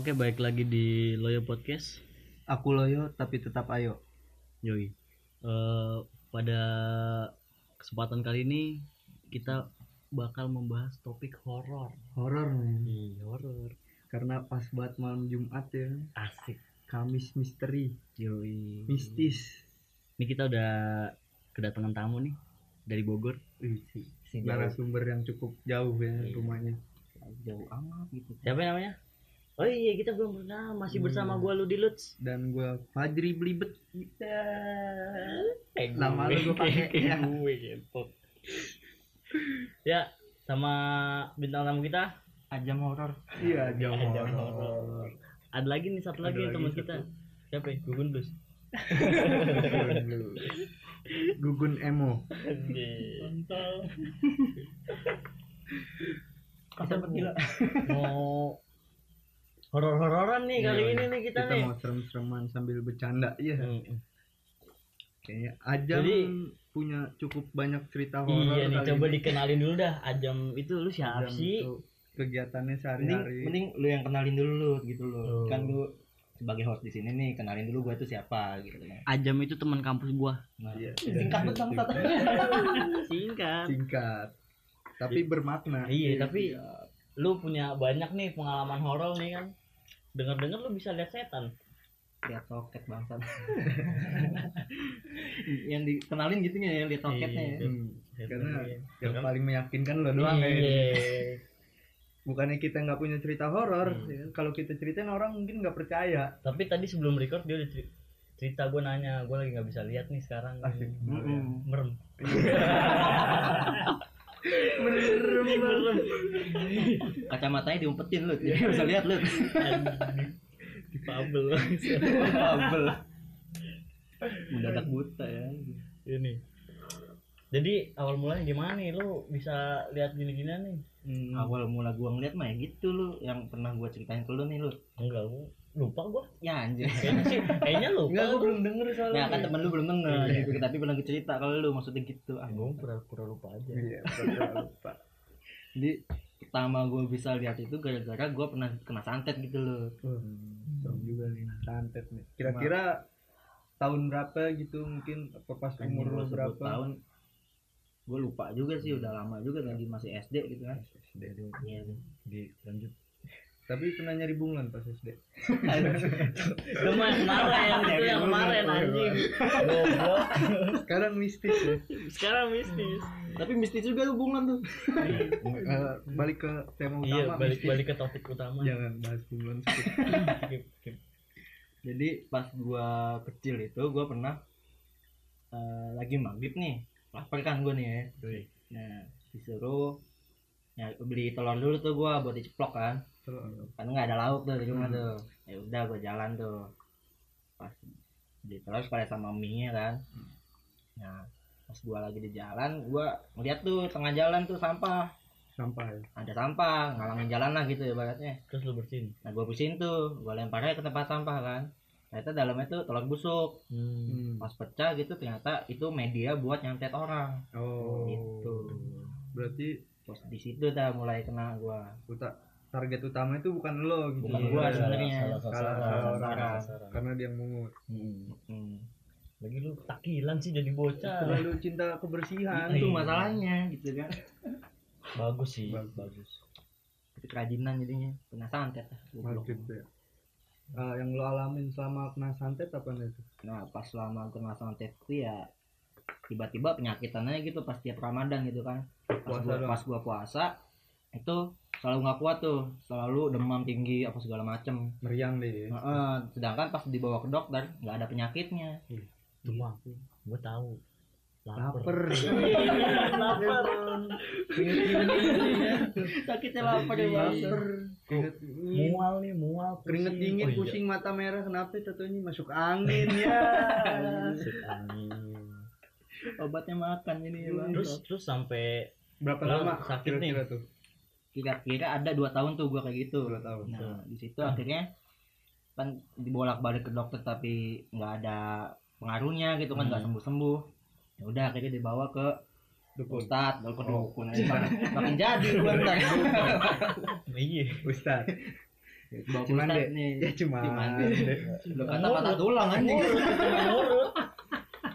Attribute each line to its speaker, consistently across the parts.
Speaker 1: Oke, baik lagi di Loyo Podcast.
Speaker 2: Aku loyo tapi tetap ayo.
Speaker 1: Yoi. Eh, pada kesempatan kali ini kita bakal membahas topik horor.
Speaker 2: Horor men.
Speaker 1: Iya, horor.
Speaker 2: Karena pas buat malam Jumat ya.
Speaker 1: Asik.
Speaker 2: Kamis misteri,
Speaker 1: Hmm. Yoi.
Speaker 2: mistis.
Speaker 1: Ini kita udah kedatangan tamu nih dari Bogor.
Speaker 2: Wih, si-
Speaker 1: Si
Speaker 2: Narasumber yang cukup jauh ya
Speaker 1: Iya.
Speaker 2: rumahnya.
Speaker 1: jauh amat gitu. Siapa namanya? Oh iya, kita belum pernah masih bersama
Speaker 2: Hmm.
Speaker 1: gua Ludi Lutz.
Speaker 2: Dan gua Fajri Blibet.
Speaker 1: Eh,
Speaker 2: Lama lu gua pakai,
Speaker 1: ya.
Speaker 2: ya.
Speaker 1: Gue kepot. Ya, sama bintang tamu kita
Speaker 3: Ajang horor.
Speaker 2: Iya, jauh.
Speaker 1: Ada
Speaker 2: horor.
Speaker 1: horor. Ada lagi nih satu lagi nih
Speaker 2: Ada lagi
Speaker 1: teman
Speaker 2: satu.
Speaker 1: kita. Siapa ya? Gugun Blues.
Speaker 2: Gugun Emo.
Speaker 3: Kita bergila.
Speaker 1: Mau horor-hororan nih kali
Speaker 2: Iya,
Speaker 1: ini nih kita,
Speaker 2: Kita
Speaker 1: nih.
Speaker 2: mau serem-sereman sambil bercanda, iya.
Speaker 1: Mm-mm.
Speaker 2: Kayaknya Ajam
Speaker 1: Hmm. Jadi-
Speaker 2: punya cukup banyak cerita horor.
Speaker 1: Iya nih
Speaker 2: kali
Speaker 1: coba
Speaker 2: ini.
Speaker 1: dikenalin dulu dah Ajam itu lu siapa
Speaker 2: Ajam
Speaker 1: sih?
Speaker 2: tuh kegiatannya
Speaker 3: Mending,
Speaker 2: sehari-hari.
Speaker 3: mending lu yang kenalin dulu lu gitu
Speaker 1: Oh.
Speaker 3: loh. Kan lu sebagai host di sini nih kenalin dulu gua tuh siapa gitu ya.
Speaker 1: Ajam itu teman kampus gua.
Speaker 3: Nah,
Speaker 2: Iya.
Speaker 3: Singkat banget bang Sat.
Speaker 1: Singkat.
Speaker 2: singkat tapi bermakna
Speaker 1: Iya, tapi- Lu punya banyak nih pengalaman horor nih kan. Dengar-dengar lu bisa lihat setan.
Speaker 3: Lihat ya toket bang Sat. yang dikenalin gitu ya lihat toketnya ya.
Speaker 2: Hmm,
Speaker 1: Iya,
Speaker 2: karena
Speaker 1: Setan,
Speaker 2: yang
Speaker 1: Kan-
Speaker 2: paling meyakinkan lo doang ya
Speaker 1: Iya.
Speaker 2: bukannya kita nggak punya cerita horor
Speaker 1: Hmm.
Speaker 2: ya kan? kalau kita ceritain orang mungkin nggak percaya
Speaker 1: Tapi tadi sebelum record dia udah ceri- cerita gue nanya, gue lagi nggak bisa lihat nih sekarang.
Speaker 2: asik
Speaker 3: Mm-mm.
Speaker 1: Merem.
Speaker 2: Merem banget.
Speaker 3: Kacamatanya diumpetin lu. Jadi nggak bisa lihat lu.
Speaker 1: Di Fabel.
Speaker 3: Babel. Mendadak buta ya.
Speaker 1: Ini. Jadi awal mulanya gimana nih? Lu bisa lihat gini-ginian nih?
Speaker 2: Hmm.
Speaker 3: Awal mula gua ngeliat mah ya gitu lu yang pernah gua ceritain ke lu nih lu.
Speaker 1: Enggak, gua lupa gua.
Speaker 3: Ya anjir.
Speaker 1: Kayaknya sih, kayaknya lupa.
Speaker 2: nggak gue belum denger soalnya
Speaker 3: Nah kan temen lu belum denger gitu, tapi pernah gue cerita kalau lu maksudnya gitu. Ah,
Speaker 1: Gue pura-pura lupa aja.
Speaker 2: iya pernah lupa
Speaker 3: Jadi pertama gue bisa lihat itu gara-gara gue pernah kena santet gitu loh.
Speaker 2: Serem Hmm, juga nih santet nih kira-kira tahun berapa gitu mungkin apa pas umur
Speaker 3: Umur
Speaker 2: lo
Speaker 3: berapa
Speaker 2: berapa
Speaker 3: tahun? Gue lupa juga sih, udah lama juga lagi masih SD gitu kan.
Speaker 2: SD dulu.
Speaker 3: Iya.
Speaker 1: Di lanjut.
Speaker 2: tapi pernah nyari bunglon pas SD
Speaker 1: Itu mah yang kemarin, itu yang kemarin anjing. Goblok.
Speaker 2: sekarang mistis ya
Speaker 1: Sekarang mistis.
Speaker 3: Tapi mistis juga hubungan tuh.
Speaker 2: Eh, balik ke tema utama
Speaker 1: Iya,
Speaker 2: mistis.
Speaker 1: balik-balik ke topik utama.
Speaker 2: jangan bahas bunglon skip.
Speaker 1: Skip, skip.
Speaker 3: Jadi pas gue kecil itu gue pernah eh, lagi maghrib nih, lapar kan gue nih ya.
Speaker 1: Yoi.
Speaker 3: Nah disuruh ya, beli telur dulu tuh gue buat diceplok kan.
Speaker 2: Terus,
Speaker 3: karena nggak ada lauk tuh di rumah
Speaker 2: Hmm.
Speaker 3: tuh ya udah gue jalan tuh pas di terus pada sama mie kan nah pas gue lagi di jalan gue ngeliat tuh tengah jalan tuh sampah
Speaker 2: sampah ya.
Speaker 3: ada sampah ngalangin jalan lah gitu ibaratnya
Speaker 1: Terus lu bersihin.
Speaker 3: nah gue pusin tuh gue lemparnya ke tempat sampah kan ternyata dalamnya tuh telur busuk
Speaker 1: Hmm.
Speaker 2: Hmm.
Speaker 3: pas pecah gitu ternyata itu media buat nyantet orang
Speaker 2: Oh,
Speaker 3: gitu
Speaker 2: berarti
Speaker 3: terus di situ dah mulai kena gue
Speaker 2: uta- target utama itu bukan lo gitu.
Speaker 3: Bukan
Speaker 2: Iya.
Speaker 3: gua sebenarnya.
Speaker 1: Salah sasaran.
Speaker 2: Salah
Speaker 3: sasaran.
Speaker 2: Karena dia yang mengut.
Speaker 1: Hmm.
Speaker 3: hmm.
Speaker 1: Lagi lu takilan sih jadi bocah.
Speaker 2: Terlalu cinta kebersihan.
Speaker 3: Iya. itu
Speaker 1: Iya.
Speaker 3: masalahnya gitu kan
Speaker 1: Bagus sih,
Speaker 2: Bagus.
Speaker 1: bagus.
Speaker 3: Tapi kerajinan jadinya kena santet lah, goblok.
Speaker 2: Maksud ya. Eh, yang lo alamin selama kena santet apa nih?
Speaker 3: Nah pas selama gue kena santet itu ya tiba-tiba penyakitannya gitu pas tiap Ramadan gitu kan. Pas
Speaker 2: Puasa
Speaker 3: gua,
Speaker 2: dong.
Speaker 3: pas gua puasa itu selalu nggak kuat tuh, selalu demam tinggi apa segala macem.
Speaker 2: Meriang deh.
Speaker 3: Nah, eh, sedangkan pas dibawa ke dokter nggak ada penyakitnya.
Speaker 1: Cuma gue tahu. Lapar.
Speaker 2: Laper.
Speaker 1: Lapar.
Speaker 3: Sakitnya lapar ya
Speaker 1: Bang.
Speaker 2: Laper. Keringet dingin.
Speaker 1: Mual nih, mual.
Speaker 2: Keringet dingin,
Speaker 1: Oh, iya.
Speaker 2: pusing mata merah, kenapa tatonya masuk angin ya?
Speaker 1: Masuk angin.
Speaker 3: Obatnya makan ini ya bang.
Speaker 1: Terus terus sampai
Speaker 2: Berapa
Speaker 1: Lah,
Speaker 2: lama
Speaker 1: sakit nih.
Speaker 2: kira-kira tuh?
Speaker 3: kira-kira ada dua tahun tuh gua kayak gitu.
Speaker 2: Dua tahun.
Speaker 3: Nah di situ akhirnya kan dibolak-balik ke dokter tapi nggak ada pengaruhnya gitu kan nggak
Speaker 1: Hmm.
Speaker 3: sembuh-sembuh. Ya udah akhirnya dibawa ke
Speaker 2: Dukun.
Speaker 3: Ustad, kalau
Speaker 2: Oh.
Speaker 3: dukun aja. makin jadi gua ntar.
Speaker 1: iya.
Speaker 2: Ustaz. Bawa pulang
Speaker 3: Cuman
Speaker 2: deh.
Speaker 3: nih.
Speaker 2: Ya cuma.
Speaker 3: Cuman. Lu kata patah tulang anjing.
Speaker 1: Menurut.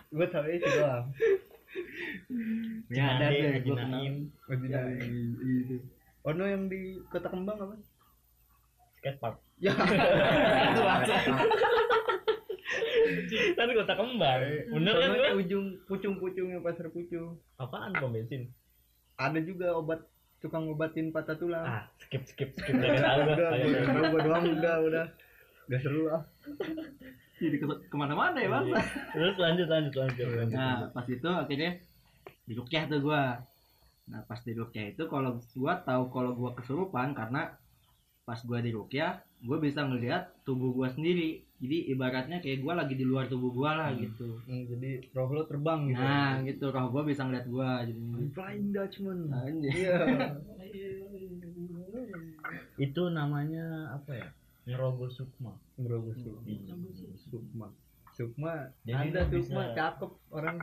Speaker 2: Gue tahu itu doang.
Speaker 3: Ya, ada
Speaker 1: Ade,
Speaker 3: tuh
Speaker 1: Haji
Speaker 3: gua kenal.
Speaker 1: Naim,
Speaker 2: Original itu. Ono yang di Kota Kembang apa?
Speaker 1: skatepark.
Speaker 2: Ya.
Speaker 3: Itu maksud.
Speaker 1: Kan kota kembang. Bener kan
Speaker 2: Sono
Speaker 1: gua?
Speaker 2: Eh, Ujung pucung-pucung yang pasar pucung.
Speaker 1: Apaan pom bensin?
Speaker 2: Ada juga obat tukang obatin patah tulang.
Speaker 1: Ah, skip skip skip jangan tahu gua.
Speaker 2: udah,
Speaker 1: Jangan
Speaker 2: udah,
Speaker 1: tahu.
Speaker 2: udah, doang udah, udah. Gak seru lah.
Speaker 3: Jadi ke- kemana-mana ya bang.
Speaker 1: Terus lanjut lanjut lanjut. lanjut.
Speaker 3: Nah pas itu akhirnya di Rukyah tuh gua. Nah pas di Rukyah itu kalau gua tahu kalau gua kesurupan karena pas gua di Rukyah gua bisa ngelihat tubuh gua sendiri. Jadi ibaratnya kayak gua lagi di luar tubuh gua lah
Speaker 1: Hmm.
Speaker 3: gitu.
Speaker 2: Hmm, jadi roh lo terbang gitu.
Speaker 3: Nah gitu roh gua bisa ngeliat gua jadi.
Speaker 2: I'm flying Dutchman.
Speaker 1: Ah.
Speaker 3: Anjing.
Speaker 2: Iya.
Speaker 1: Itu namanya apa ya? Nyerogoh Sukma.
Speaker 2: Merogoh Sukma. Sukma. Sukma.
Speaker 1: Jadi
Speaker 2: ada
Speaker 1: lo bisa-
Speaker 2: Sukma cakep orang.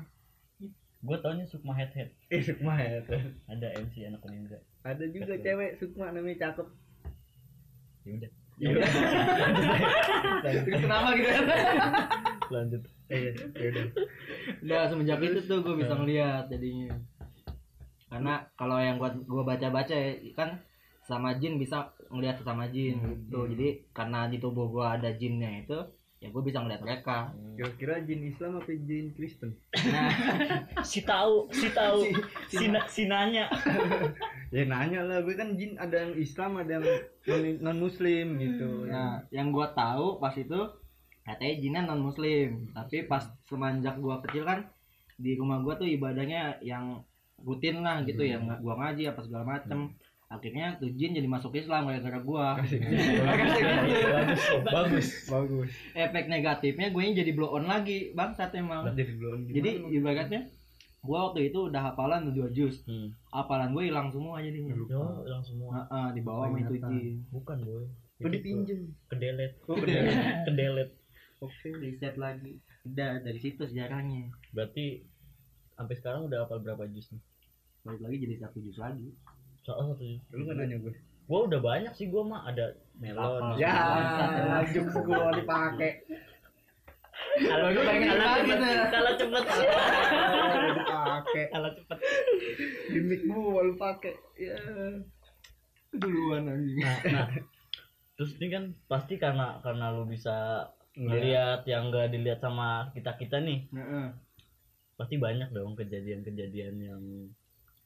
Speaker 1: Gue taunya Sukma Head Head.
Speaker 2: Eh Sukma ya.
Speaker 1: Ada MC anak Kuninga.
Speaker 2: Ada juga
Speaker 1: Betul.
Speaker 2: cewek Sukma namanya cakep.
Speaker 1: Ya udah.
Speaker 2: Iya.
Speaker 3: Kenapa gitu?
Speaker 1: Lanjut.
Speaker 2: Iya. iya, udah.
Speaker 3: Udah semenjak itu tuh gue bisa ngeliat jadinya. Karena kalau yang gua gua baca-baca ya, kan sama jin bisa ngelihat sama jin
Speaker 2: Hmm,
Speaker 3: gitu.
Speaker 2: iya.
Speaker 3: Jadi karena di tubuh gua ada jinnya itu, ya gue bisa ngeliat mereka.
Speaker 2: Kira-kira jin Islam apa jin Kristen?
Speaker 3: Nah,
Speaker 1: Si tahu, si tahu, si, na- si nanya.
Speaker 2: Ya nanya lah, gue kan jin ada yang Islam, ada yang non- non-muslim gitu.
Speaker 3: nah, yang gua tahu pas itu katanya jinnya non muslim, tapi pas semenjak gua kecil kan di rumah gua tuh ibadahnya yang rutin lah gitu ya, nggak- gua ngaji apa segala macem. Akhirnya tuh jin jadi masuk Islam gara-gara gua.
Speaker 1: Bagus, bagus.
Speaker 2: Bagus.
Speaker 3: efek negatifnya gue jadi blow on lagi bangsat emang
Speaker 2: Jadi belum.
Speaker 3: jadi ibaratnya gue waktu itu udah hafalan tuh dua juz
Speaker 1: Hmm.
Speaker 3: hafalan gue hilang semua jadi
Speaker 1: Yo, hilang semua.
Speaker 3: Heeh, di bawah sama itu
Speaker 2: Ingatan.
Speaker 3: jin
Speaker 1: Bukan, boy.
Speaker 2: Itu
Speaker 1: Itu
Speaker 2: dipinjem.
Speaker 1: Kedelet,
Speaker 2: Oh, bener.
Speaker 1: kedelet.
Speaker 2: Oke.
Speaker 3: riset lagi udah dari situ sejarahnya
Speaker 1: Berarti sampai sekarang udah hafal berapa juz nih?
Speaker 3: balik lagi jadi satu juz lagi
Speaker 1: Soal satu juz.
Speaker 2: Lu nggak nanya gue?
Speaker 1: Gua udah banyak sih gua mah ada melon.
Speaker 3: Ya,
Speaker 2: lanjut gue dipakai.
Speaker 1: Kalau
Speaker 3: Gua pengen
Speaker 1: kalau
Speaker 3: banget
Speaker 1: cepet,
Speaker 3: ya.
Speaker 1: kalau cepet,
Speaker 2: Dipakai.
Speaker 1: kalau cepet.
Speaker 2: Gimik gue lu pakai. Ya.
Speaker 3: duluan anjing
Speaker 1: Nah, nah. Terus ini kan pasti karena karena lu bisa
Speaker 2: ya?
Speaker 1: ngelihat yang gak dilihat sama kita kita nih,
Speaker 3: Heeh.
Speaker 1: pasti banyak dong kejadian-kejadian yang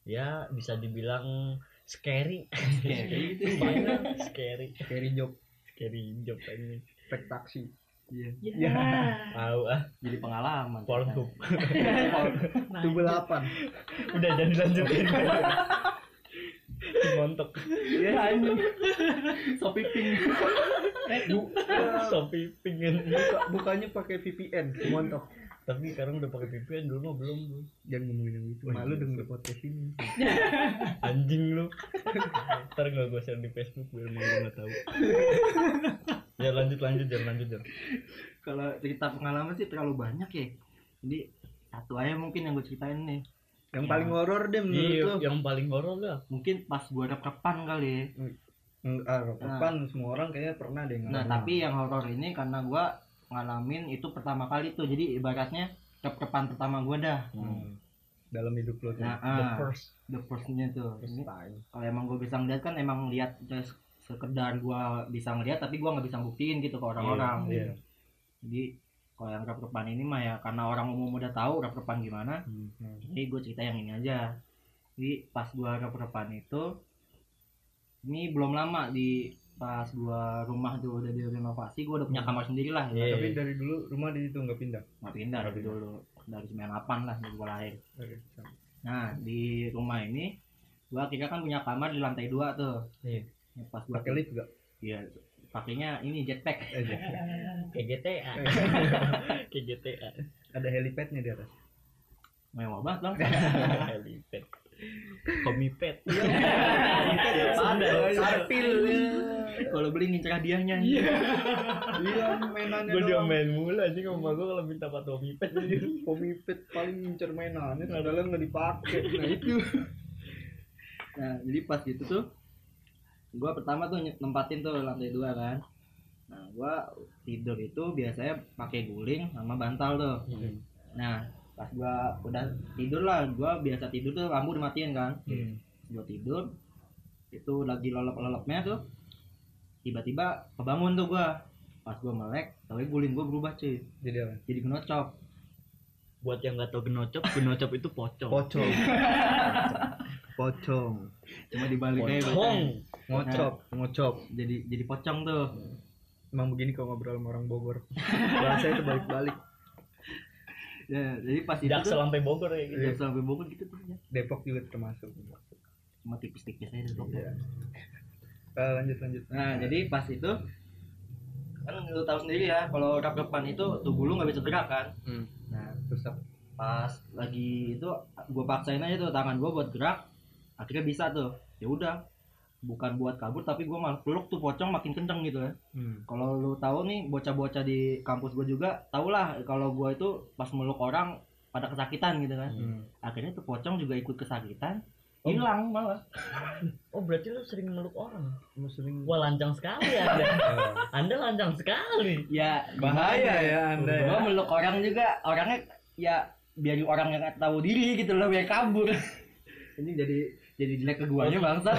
Speaker 1: ya bisa dibilang scary.
Speaker 3: Scary.
Speaker 1: Banyak, scary,
Speaker 2: Carry job
Speaker 1: scary job ini.
Speaker 2: spek taksi.
Speaker 3: Iya.
Speaker 2: Ya.
Speaker 1: Tahu ah,
Speaker 3: jadi pengalaman
Speaker 1: Pornhub.
Speaker 2: Tubuh delapan.
Speaker 1: Udah jadi lanjutin. Montok.
Speaker 2: Iya anjing.
Speaker 3: sopi pink
Speaker 2: Bu-
Speaker 1: Shopee pingin.
Speaker 2: buka- Bukannya pakai VPN, montok.
Speaker 1: Tapi sekarang udah pakai VPN dulu mah belum. Bu.
Speaker 2: Jangan ngomongin yang itu. Malu denger podcast ini.
Speaker 1: Anjing lu. Ntar gak gue share di Facebook biar emang gue gak tahu. ya lanjut lanjut jangan lanjut jangan.
Speaker 3: kalau cerita pengalaman sih terlalu banyak ya jadi satu aja mungkin yang gue ceritain nih
Speaker 2: Yang paling horor deh
Speaker 1: Iya,
Speaker 2: menurut lu.
Speaker 1: yang paling horor lah.
Speaker 3: mungkin pas gue rekapan kali ya
Speaker 2: Ah, rokokan semua orang kayaknya pernah deh
Speaker 3: Nah,
Speaker 1: Hmm.
Speaker 2: ngalamin.
Speaker 3: tapi yang horor ini karena gua ngalamin itu pertama kali tuh. Jadi ibaratnya kep-kepan pertama gua dah.
Speaker 1: Hmm.
Speaker 2: dalam hidup lo tuh.
Speaker 3: Nah,
Speaker 1: The
Speaker 3: ah,
Speaker 1: first.
Speaker 3: the first-nya tuh.
Speaker 2: First
Speaker 3: Ini
Speaker 2: time.
Speaker 3: kalau emang gua bisa ngeliat kan emang lihat just sekedar gua bisa ngeliat tapi gua nggak bisa buktiin gitu ke orang-orang.
Speaker 2: Iya.
Speaker 3: Jadi kalau yang kep-kepan ini mah ya karena orang umum udah tahu kep-kepan gimana.
Speaker 2: Hmm.
Speaker 3: Jadi gue cerita yang ini aja. Jadi pas gua rep-repan itu ini belum lama di pas gua rumah tuh udah direnovasi, gua udah punya kamar sendiri lah.
Speaker 1: Iya.
Speaker 2: Tapi dari dulu rumah di situ nggak pindah.
Speaker 3: nggak pindah
Speaker 1: Nggak
Speaker 3: dari
Speaker 1: pindah.
Speaker 3: dulu dari 98 lah dari gua lahir
Speaker 2: Oke, sama.
Speaker 3: nah di rumah ini gua akhirnya kan punya kamar di lantai dua tuh
Speaker 1: Iya.
Speaker 3: Ya, pas gua
Speaker 2: Pakai lift nggak?
Speaker 3: iya pakainya ini jetpack
Speaker 2: Eh, iya.
Speaker 1: Kayak GTA. Kayak GTA.
Speaker 2: Ada helipadnya di atas.
Speaker 3: mewah banget bang
Speaker 1: Helipad. Komipad.
Speaker 3: Sadar,
Speaker 2: Sarpil.
Speaker 3: kalau beli ngincer hadiahnya
Speaker 2: Iya, mainannya
Speaker 1: Gue
Speaker 2: doang.
Speaker 1: diomelin mulu aja sama gue kalau minta pak Komipad.
Speaker 2: Pomipet paling ngincer mainannya, padahal nggak dipakai. Nah itu.
Speaker 3: nah jadi pas gitu tuh gua pertama tuh ny- nempatin tuh lantai dua kan nah gua tidur itu biasanya pakai guling sama bantal tuh nah pas gua udah tidur lah gua biasa tidur tuh lampu dimatiin kan
Speaker 2: Hmm.
Speaker 3: gua tidur itu lagi lolop-lolopnya tuh tiba-tiba kebangun tuh gua pas gua melek tapi guling gua berubah cuy
Speaker 2: Jadi apa?
Speaker 3: jadi kenocok
Speaker 1: Buat yang nggak tahu genocop, genocop itu pocong.
Speaker 2: Pocong. Pocong.
Speaker 3: cuma dibalik aja
Speaker 1: Pocong.
Speaker 3: bacanya.
Speaker 2: Ngocop, ngocop.
Speaker 3: jadi jadi pocong tuh
Speaker 2: Emang begini kalau ngobrol sama orang Bogor. Bahasa itu balik-balik.
Speaker 3: ya jadi pas itu
Speaker 1: Jaksel
Speaker 3: tuh
Speaker 1: sampai Bogor ya gitu.
Speaker 3: tidak sampai bobot gitu tuh ya
Speaker 2: Depok juga termasuk.
Speaker 3: cuma tipis-tipis aja tuh.
Speaker 2: Iya. Eh, lanjut lanjut.
Speaker 3: nah jadi pas itu kan lu tahu sendiri ya kalau rap depan itu tubuh lu nggak bisa gerak kan nah
Speaker 2: Terus apa?
Speaker 3: pas lagi itu gue paksain aja tuh tangan gue buat gerak akhirnya bisa tuh ya udah bukan buat kabur tapi gue malah peluk tuh pocong makin kenceng gitu ya
Speaker 2: Hmm.
Speaker 3: kalau lu tahu nih bocah-bocah di kampus gue juga tau lah kalau gue itu pas meluk orang pada kesakitan gitu kan
Speaker 2: Hmm.
Speaker 3: akhirnya tuh pocong juga ikut kesakitan
Speaker 1: Oh.
Speaker 3: hilang malah
Speaker 1: Oh berarti lu sering meluk orang?
Speaker 2: Lu sering
Speaker 1: Wah lancang sekali anda.
Speaker 2: Eh,
Speaker 1: Anda lancang sekali.
Speaker 3: ya
Speaker 2: bahaya ya Anda ya.
Speaker 3: gue meluk orang juga orangnya ya biar orang yang nggak tahu diri gitu loh biar kabur ini jadi jadi jelek
Speaker 2: Oh.
Speaker 3: keduanya bangsa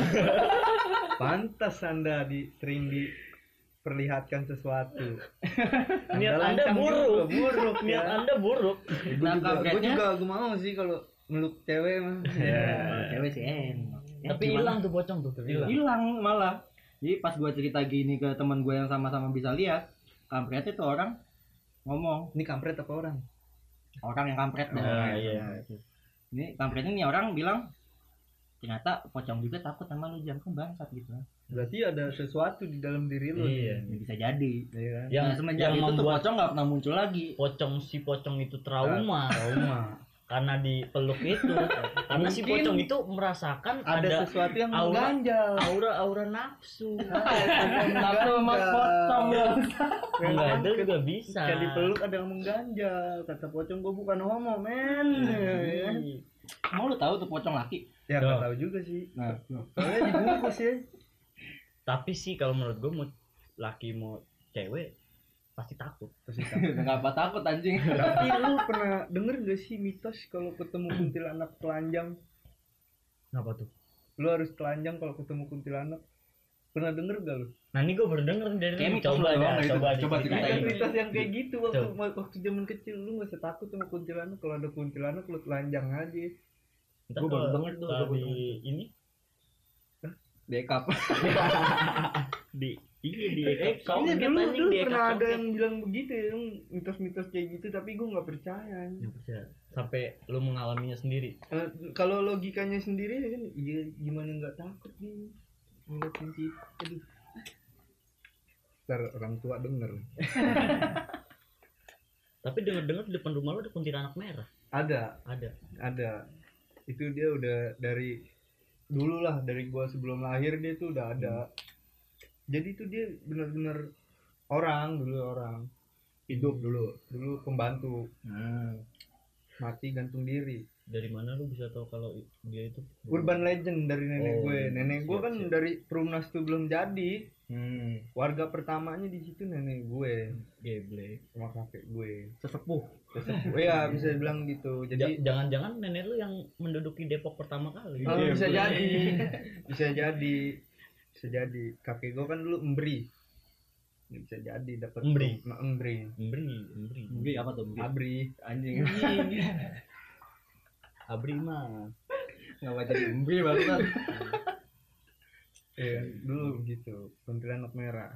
Speaker 2: Pantas Anda di sering diperlihatkan sesuatu.
Speaker 1: Niat Anda
Speaker 2: lancang
Speaker 1: buruk.
Speaker 2: juga, buruk
Speaker 1: Niat
Speaker 2: ya.
Speaker 1: anda buruk.
Speaker 2: Gue juga,
Speaker 3: Nah,
Speaker 2: gua
Speaker 3: kagetnya-
Speaker 2: juga gua mau sih kalau meluk cewek mah.
Speaker 3: Kalau cewek sih enak. Eh,
Speaker 1: Tapi
Speaker 3: gimana?
Speaker 1: hilang tuh pocong tuh.
Speaker 2: Hilang.
Speaker 3: iya. hilang malah jadi pas gue cerita gini ke teman gue yang sama-sama bisa lihat kampretnya tuh orang ngomong
Speaker 2: Ini kampret apa orang?
Speaker 3: orang yang kampret dah.
Speaker 1: Nah, iya.
Speaker 3: ini kampretnya nih orang bilang ternyata pocong juga takut sama lu jangan bangsat gitu
Speaker 2: Berarti ada sesuatu di dalam diri lu.
Speaker 1: Iya.
Speaker 3: Ini bisa jadi
Speaker 2: Iya kan?
Speaker 1: Yang
Speaker 3: nah, semenjak
Speaker 1: yang
Speaker 3: itu tuh
Speaker 1: membuat
Speaker 3: pocong nggak pernah muncul lagi
Speaker 1: pocong si pocong itu trauma
Speaker 3: Ah.
Speaker 2: Trauma.
Speaker 1: karena dipeluk itu. karena si
Speaker 2: Mungkin
Speaker 1: pocong itu merasakan
Speaker 2: Ada,
Speaker 1: ada
Speaker 2: sesuatu yang
Speaker 1: aura-
Speaker 2: mengganjal.
Speaker 1: aura-aura nafsu.
Speaker 3: Ah, tapi sama
Speaker 2: Enggak.
Speaker 3: pocong lu.
Speaker 1: Enggak ada
Speaker 2: Kan-
Speaker 1: juga bisa.
Speaker 2: Kan
Speaker 4: Ah.
Speaker 2: dipeluk ada yang mengganjal. Kata pocong gua bukan homo, men. Ya, kan?
Speaker 1: Iya.
Speaker 3: mau lu tahu tuh pocong laki
Speaker 2: Ya
Speaker 1: Tuh.
Speaker 2: nggak tahu juga sih.
Speaker 3: nah
Speaker 2: Soalnya dibungkus ya.
Speaker 1: Tapi sih kalau menurut gue mau laki mau cewek pasti takut.
Speaker 3: nggak apa takut anjing
Speaker 2: Tapi lu pernah denger gak sih mitos kalau ketemu kuntilanak telanjang?
Speaker 1: Kenapa tuh?
Speaker 2: Lu harus telanjang kalau ketemu kuntilanak. Pernah denger gak lu?
Speaker 1: Nah ini gue baru denger dari
Speaker 3: Kayak
Speaker 1: lu.
Speaker 3: mitos
Speaker 1: coba
Speaker 3: lu doang
Speaker 1: dah,
Speaker 3: lah itu.
Speaker 1: coba,
Speaker 3: Coba
Speaker 4: Nah,
Speaker 1: diceritain.
Speaker 2: Kan
Speaker 3: ceritain. Iya.
Speaker 2: mitos yang kayak gitu waktu
Speaker 1: Tuh.
Speaker 2: waktu zaman kecil lu gak usah takut sama kuntilanak kalau ada kuntilanak lu telanjang aja
Speaker 1: Ntar
Speaker 3: Gua baru
Speaker 1: kalau-
Speaker 3: denger tuh,
Speaker 1: kalau
Speaker 3: gua baru
Speaker 1: di ini
Speaker 3: dekap
Speaker 1: di iya di
Speaker 3: Eh,
Speaker 1: kau
Speaker 4: Oh,
Speaker 2: Iya, dulu dulu pernah ada
Speaker 1: yang
Speaker 2: yang bilang begitu ya yang mitos-mitos kayak gitu tapi gue nggak percaya
Speaker 1: sampai lu mengalaminya sendiri.
Speaker 2: Eh, kalau logikanya sendiri kan iya gimana nggak takut nih ngeliat kunci aduh ntar orang tua denger
Speaker 1: Tapi denger-denger di depan rumah lu ada kuntilanak merah.
Speaker 2: ada
Speaker 1: Ada.
Speaker 2: ada itu dia udah dari dulu lah dari gua sebelum lahir dia tuh udah ada jadi tuh dia bener-bener orang dulu orang hidup dulu dulu pembantu mati gantung diri
Speaker 1: Dari mana lu bisa tahu kalau i- dia itu
Speaker 2: urban legend dari nenek
Speaker 1: Oh,
Speaker 2: gue nenek gue
Speaker 1: siap,
Speaker 2: kan
Speaker 1: siap.
Speaker 2: dari perumnas tuh belum jadi
Speaker 3: hmm.
Speaker 2: warga pertamanya di situ nenek gue
Speaker 1: geble?
Speaker 2: rumah kakek gue
Speaker 3: sesepuh
Speaker 2: Sesepuh- iya bisa bilang gitu
Speaker 1: Jadi
Speaker 2: jadi
Speaker 1: jangan-jangan nenek lu yang menduduki Depok pertama kali.
Speaker 2: Oh,
Speaker 3: Iya,
Speaker 2: bisa
Speaker 3: boleh.
Speaker 2: jadi bisa jadi bisa jadi kakek gue kan dulu embri Ini bisa jadi dapat
Speaker 1: Embri.
Speaker 2: nah, embri
Speaker 1: Embri, embri.
Speaker 3: Mungkin apa tuh mungkin
Speaker 2: abri
Speaker 3: anjing
Speaker 1: Abri mah.
Speaker 3: nggak baca mungkin bangsat
Speaker 2: Iya, dulu gitu kuntilanak merah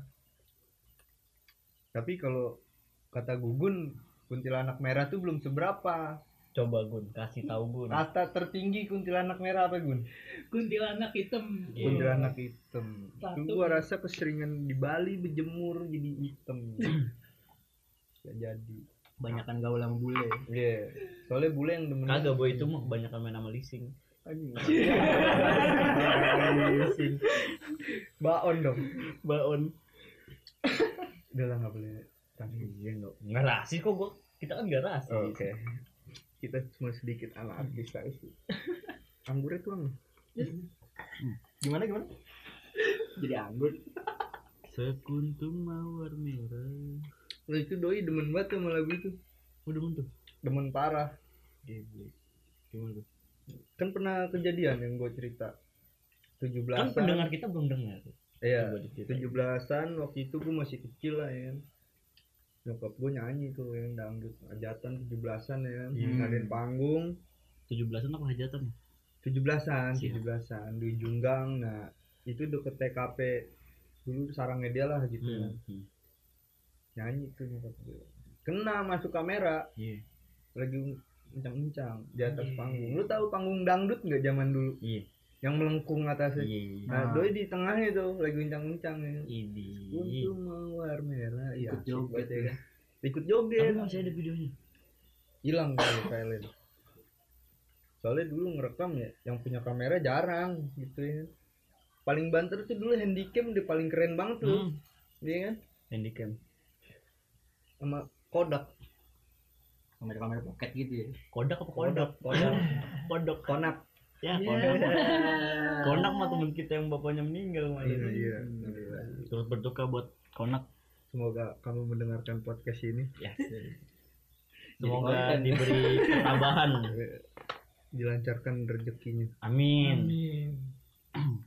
Speaker 2: tapi kalau kata gugun kuntilanak merah tuh belum seberapa
Speaker 1: Coba Gun, kasih tahu Gun.
Speaker 2: Kata tertinggi kuntilanak merah apa Gun?
Speaker 5: kuntilanak hitam
Speaker 1: Iya.
Speaker 2: Kuntilanak hitam. Itu
Speaker 5: Satu.
Speaker 2: gua rasa keseringan di Bali berjemur jadi hitam. Gak jadi.
Speaker 3: banyakkan gaul sama bule
Speaker 2: Iya. Soalnya bule yang demen.
Speaker 1: Kagak boy itu mah kebanyakan main sama leasing.
Speaker 2: Anjing. Anjing. Baon dong.
Speaker 1: Baon.
Speaker 2: Udah lah nggak boleh. Tapi
Speaker 1: Iya enggak. Enggak rasis kok gua. Kita kan enggak rasis.
Speaker 2: Oh, oke. Kita cuma sedikit anarkis
Speaker 4: Iya.
Speaker 2: aja sih. Anggurnya tuang.
Speaker 3: gimana gimana jadi anggun
Speaker 4: Sekuntum mawar merah.
Speaker 2: Nah, itu doi demen banget sama lagu itu
Speaker 4: Udah muntuh.
Speaker 2: demen parah
Speaker 4: Geblek. Gimana tuh?
Speaker 2: kan pernah kejadian yang gue cerita 17
Speaker 4: Kan pendengar kita belum dengar.
Speaker 2: iya
Speaker 4: Coba diceritain.
Speaker 2: tujuh belasan waktu itu gue masih kecil lah ya nyokap gue nyanyi tuh yang dangdut hajatan tujuh belasan ya
Speaker 4: Hmm.
Speaker 2: ngadain panggung
Speaker 4: tujuh belasan apa hajatan ya?
Speaker 2: tujuh belasan
Speaker 4: Siap.
Speaker 2: tujuh belasan di Junggang nah itu deket TKP dulu sarangnya dia lah gitu ya.
Speaker 4: Hmm. hmm.
Speaker 2: nyanyi tuh nyokap gue kena masuk kamera
Speaker 4: Iya.
Speaker 2: lagi uncang-uncang di atas
Speaker 4: Iya.
Speaker 2: panggung lu tahu panggung dangdut nggak zaman dulu
Speaker 4: Iya.
Speaker 2: yang melengkung atasnya
Speaker 4: Iya.
Speaker 2: Nah,
Speaker 3: Ah.
Speaker 2: doi di tengahnya tuh lagi uncang-uncang ya.
Speaker 4: Ini.
Speaker 2: Untuk mawar merah ya.
Speaker 3: Ikut joget
Speaker 2: asik banget
Speaker 3: ya.
Speaker 2: Ikut
Speaker 4: Tapi
Speaker 2: joget.
Speaker 4: masih ada videonya.
Speaker 2: Hilang kali Thailand. Soalnya dulu ngerekam ya, yang punya kamera jarang gitu ya. Paling banter tuh dulu handycam dia paling keren banget tuh,
Speaker 4: Hmm.
Speaker 2: iya kan?
Speaker 4: Handycam.
Speaker 2: Sama Kodak,
Speaker 3: kamera kamera pocket gitu ya
Speaker 4: Kodak apa kodok?
Speaker 2: Kodak,
Speaker 4: Kodok.
Speaker 2: Konak.
Speaker 4: Ya,
Speaker 2: Iya.
Speaker 4: kodok. Konak mah temen kita yang bapaknya meninggal kemarin.
Speaker 2: Iya, iya.
Speaker 4: Terus berduka buat Konak.
Speaker 2: Semoga kamu mendengarkan podcast ini.
Speaker 4: Ya.
Speaker 3: konten.
Speaker 4: Semoga diberi ketabahan.
Speaker 2: Dilancarkan rezekinya
Speaker 4: Amin.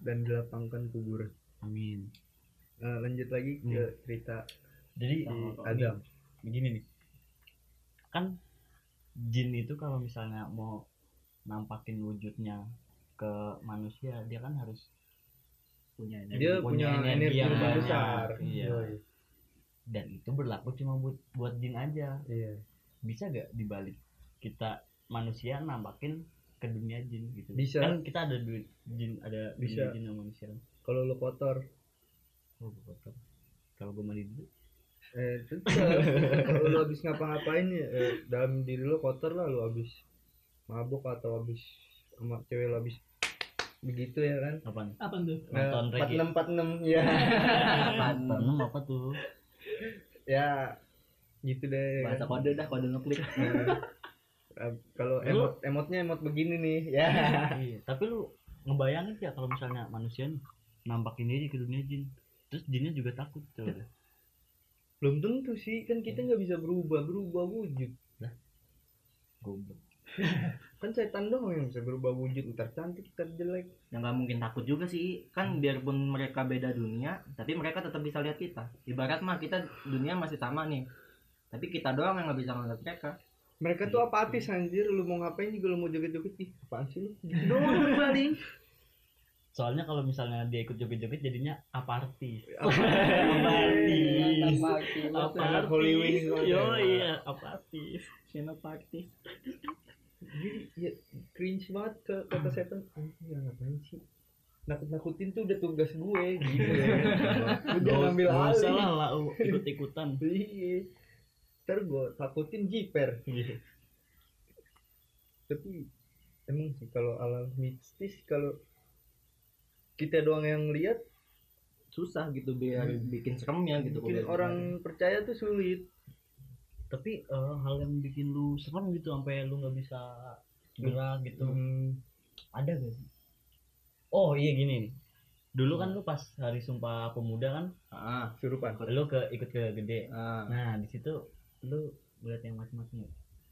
Speaker 2: dan dilapangkan kuburan.
Speaker 4: Amin.
Speaker 2: Nah, lanjut lagi ke
Speaker 4: Hmm.
Speaker 2: cerita
Speaker 4: Jadi eh,
Speaker 2: si
Speaker 3: Oh,
Speaker 2: Adam.
Speaker 4: begini nih. Kan jin itu kalau misalnya mau nampakin wujudnya ke manusia, dia kan harus
Speaker 3: punya ini
Speaker 2: dia punya energi yang
Speaker 4: banyak.
Speaker 2: besar
Speaker 4: Iya.
Speaker 2: Yoi.
Speaker 4: Dan itu berlaku cuma buat buat jin aja.
Speaker 2: iya
Speaker 4: bisa gak dibalik kita manusia nampakin ke dunia jin gitu
Speaker 2: Bisa.
Speaker 4: kan kita ada duit jin ada
Speaker 2: Bisa.
Speaker 4: dunia jin sama manusia kan
Speaker 2: kalau lu kotor
Speaker 4: oh, gua kotor. kalau gue mandi dulu
Speaker 2: eh tetep kalau lu habis ngapa-ngapain ya eh, dalam diri lu kotor lah lu habis mabuk atau habis sama cewek lu habis begitu ya kan Nah,
Speaker 4: apaan
Speaker 1: Apa tuh?
Speaker 4: Nonton
Speaker 2: empat
Speaker 4: reggae.
Speaker 2: enam empat enam ya
Speaker 4: Pernem apa tuh
Speaker 2: ya gitu deh ya
Speaker 3: bahasa
Speaker 2: kan?
Speaker 3: kode dah kode ngeklik
Speaker 2: Nah, eh, kalau
Speaker 4: Lu-
Speaker 2: emot emotnya emot begini nih ya
Speaker 4: iya. tapi lu ngebayangin ya kalau misalnya manusia nih nampakin diri ke dunia jin terus jinnya juga takut coba
Speaker 3: Iya.
Speaker 4: deh.
Speaker 2: belum tentu sih kan
Speaker 4: Hmm.
Speaker 2: kita nggak bisa berubah berubah wujud
Speaker 4: goblok
Speaker 2: kan setan doang yang bisa berubah wujud ntar cantik ntar jelek
Speaker 3: yang Nah, nggak mungkin takut juga sih kan biarpun mereka beda dunia tapi mereka tetap bisa lihat kita ibarat mah kita dunia masih sama nih tapi kita doang yang nggak bisa ngeliat mereka
Speaker 2: Mereka
Speaker 4: Iya.
Speaker 2: tuh apatis anjir, lu mau ngapain juga lu mau joget-joget ih, apaan sih lu? Gitu doang lu paling.
Speaker 4: soalnya kalau misalnya dia ikut joget-joget jadinya apartis
Speaker 2: Apatis.
Speaker 4: Apatis.
Speaker 3: Iya.
Speaker 2: Anak Holy Wings
Speaker 3: gitu
Speaker 2: banget.
Speaker 4: yo iya apatis
Speaker 3: party
Speaker 2: Jadi ya cringe banget ke kata setan. Anjir ngapain sih? Nakut-nakutin tuh udah tugas gue gitu ya. Udah
Speaker 4: Gak-
Speaker 2: ngambil
Speaker 4: gak usah
Speaker 2: alih.
Speaker 4: lah lau ikut-ikutan
Speaker 2: Iya. Ntar gue takutin jiper. Tapi emang sih kalau alam mistis kalau kita doang yang lihat
Speaker 3: susah gitu biar
Speaker 4: Hmm.
Speaker 3: bikin seremnya gitu
Speaker 2: bikin
Speaker 3: kalau
Speaker 2: orang percaya tuh sulit.
Speaker 4: tapi eh, hal yang bikin lu serem gitu sampai lu nggak bisa gerak gitu
Speaker 2: Hmm.
Speaker 4: ada gak sih oh iya gini nih dulu kan lu pas hari sumpah pemuda kan
Speaker 3: ah
Speaker 2: Surupan.
Speaker 4: lu ke ikut ke gede
Speaker 3: ah.
Speaker 4: nah di situ lu ngeliat yang ya? macam-macam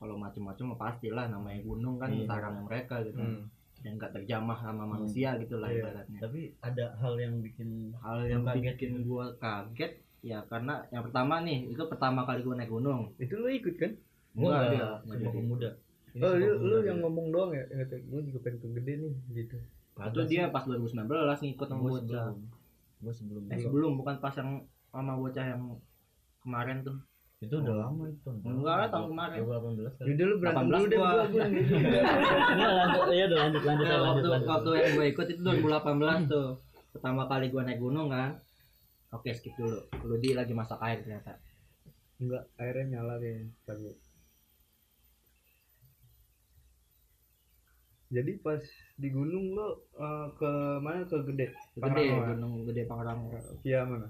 Speaker 3: kalau macem-macem mah pastilah namanya gunung kan
Speaker 4: Iya.
Speaker 3: sarangnya mereka gitu
Speaker 2: Hmm.
Speaker 3: dan nggak terjamah sama manusia gitu lah
Speaker 2: Iya.
Speaker 3: ibaratnya
Speaker 4: tapi ada hal yang bikin
Speaker 3: hal yang
Speaker 4: Kaget.
Speaker 3: bikin gua kaget ya karena yang pertama nih itu pertama kali gua naik gunung
Speaker 2: Itu lu ikut kan?
Speaker 4: gua
Speaker 3: Enggak,
Speaker 4: nggak
Speaker 3: enggak
Speaker 4: sumpah
Speaker 3: jadi.
Speaker 4: pemuda Ini
Speaker 2: Oh,
Speaker 4: Sumpah
Speaker 2: lu,
Speaker 4: Pemuda
Speaker 2: lu yang
Speaker 4: gitu.
Speaker 2: ngomong doang ya? Ingat, gue juga pengen ke gede nih gitu.
Speaker 3: itu
Speaker 4: Ada
Speaker 3: dia pas 2019 ngikut sama
Speaker 4: Gua
Speaker 3: bocah
Speaker 4: sebelum gua sebelum
Speaker 3: eh
Speaker 4: dulu.
Speaker 3: sebelum bukan pas yang sama bocah yang kemarin tuh
Speaker 4: itu udah lama itu
Speaker 3: Enggak
Speaker 4: iya.
Speaker 3: lah, tahun kemarin.
Speaker 4: 2018 kali.
Speaker 2: Yaudah lu berantem
Speaker 3: 18
Speaker 2: dulu deh
Speaker 3: gua.
Speaker 2: gua gua nih.
Speaker 4: Iya lanjut, iya udah lanjut lanjut
Speaker 3: Nah,
Speaker 4: lanjut
Speaker 3: waktu,
Speaker 4: lanjut.
Speaker 3: waktu yang gue ikut itu 2018 tuh pertama kali gue naik gunung kan oke skip dulu Ludi lagi masak air ternyata
Speaker 2: Enggak, airnya nyala kayaknya. Ntar gua. Jadi pas di gunung lu eh, ke mana ke gede?
Speaker 3: gede
Speaker 2: Pangrango ya?
Speaker 3: gunung gede Pangrango
Speaker 2: Via Iya, mana?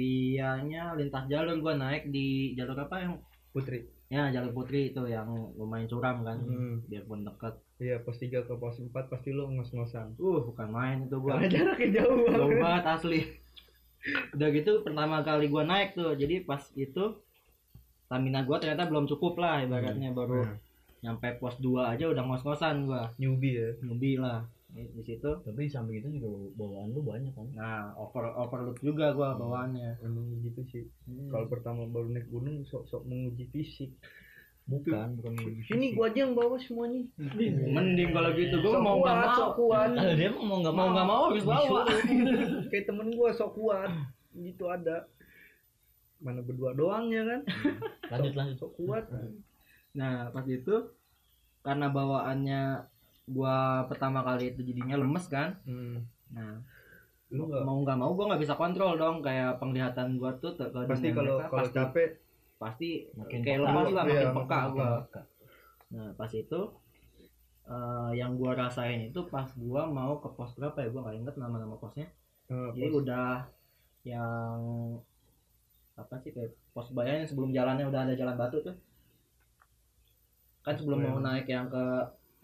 Speaker 3: vianya lintas jalur gue naik di jalur apa yang
Speaker 2: Putri.
Speaker 3: ya jalur putri itu yang lumayan curam kan
Speaker 2: Hmm.
Speaker 3: biarpun dekat
Speaker 2: Iya, pos 3 ke pos 4 pasti lo ngos-ngosan.
Speaker 3: Uh, bukan main itu gua.
Speaker 2: Karena jaraknya ya, jauh
Speaker 3: Jauh
Speaker 2: banget.
Speaker 3: banget asli. Udah gitu pertama kali gua naik tuh. Jadi pas itu stamina gua ternyata belum cukup lah ibaratnya baru
Speaker 2: Nah,
Speaker 3: nyampe pos 2 aja udah ngos-ngosan gua.
Speaker 2: newbie ya.
Speaker 3: Newbie lah di di situ.
Speaker 1: Tapi di samping itu juga bawaan lu banyak kan.
Speaker 3: Nah, over overload juga gua bawaannya.
Speaker 2: Emang gitu sih. Kalau pertama baru naik gunung sok-sok menguji fisik.
Speaker 1: Bukan, bukan di
Speaker 2: Ini gua aja yang bawa semuanya.
Speaker 3: Mending kalau gitu gua
Speaker 2: Sok
Speaker 3: mau nggak
Speaker 2: kuat,
Speaker 3: mau.
Speaker 2: sok kuat.
Speaker 1: Ah, dia emang mau nggak
Speaker 3: Mau
Speaker 1: mau
Speaker 3: nggak mau harus bawa.
Speaker 2: Kayak temen gua sok kuat. Gitu ada. Mana berdua doang ya kan?
Speaker 1: lanjut lanjut
Speaker 2: Sok kuat.
Speaker 3: Nah pas itu karena bawaannya gua pertama kali itu jadinya lemes kan.
Speaker 2: Hmm.
Speaker 3: Nah
Speaker 2: Lu nggak-
Speaker 3: mau nggak mau gua nggak bisa kontrol dong kayak penglihatan gua tuh ke- ke
Speaker 2: pasti
Speaker 3: dunia
Speaker 2: kalau
Speaker 3: mereka
Speaker 2: kalau
Speaker 3: pasti,
Speaker 2: capek
Speaker 3: pasti
Speaker 1: Makin
Speaker 3: kayak
Speaker 1: peka.
Speaker 3: lemas lah
Speaker 2: Iya,
Speaker 3: makin
Speaker 2: makin
Speaker 3: peka gua.
Speaker 1: peka.
Speaker 3: Nah pas itu eh, yang gua rasain itu pas gua mau ke pos berapa ya gua nggak inget nama-nama posnya.
Speaker 2: eh,
Speaker 3: Jadi udah yang apa sih kayak pos bayang yang sebelum jalannya udah ada jalan batu tuh. Kan sebelum mau
Speaker 2: Bayang.
Speaker 3: naik yang ke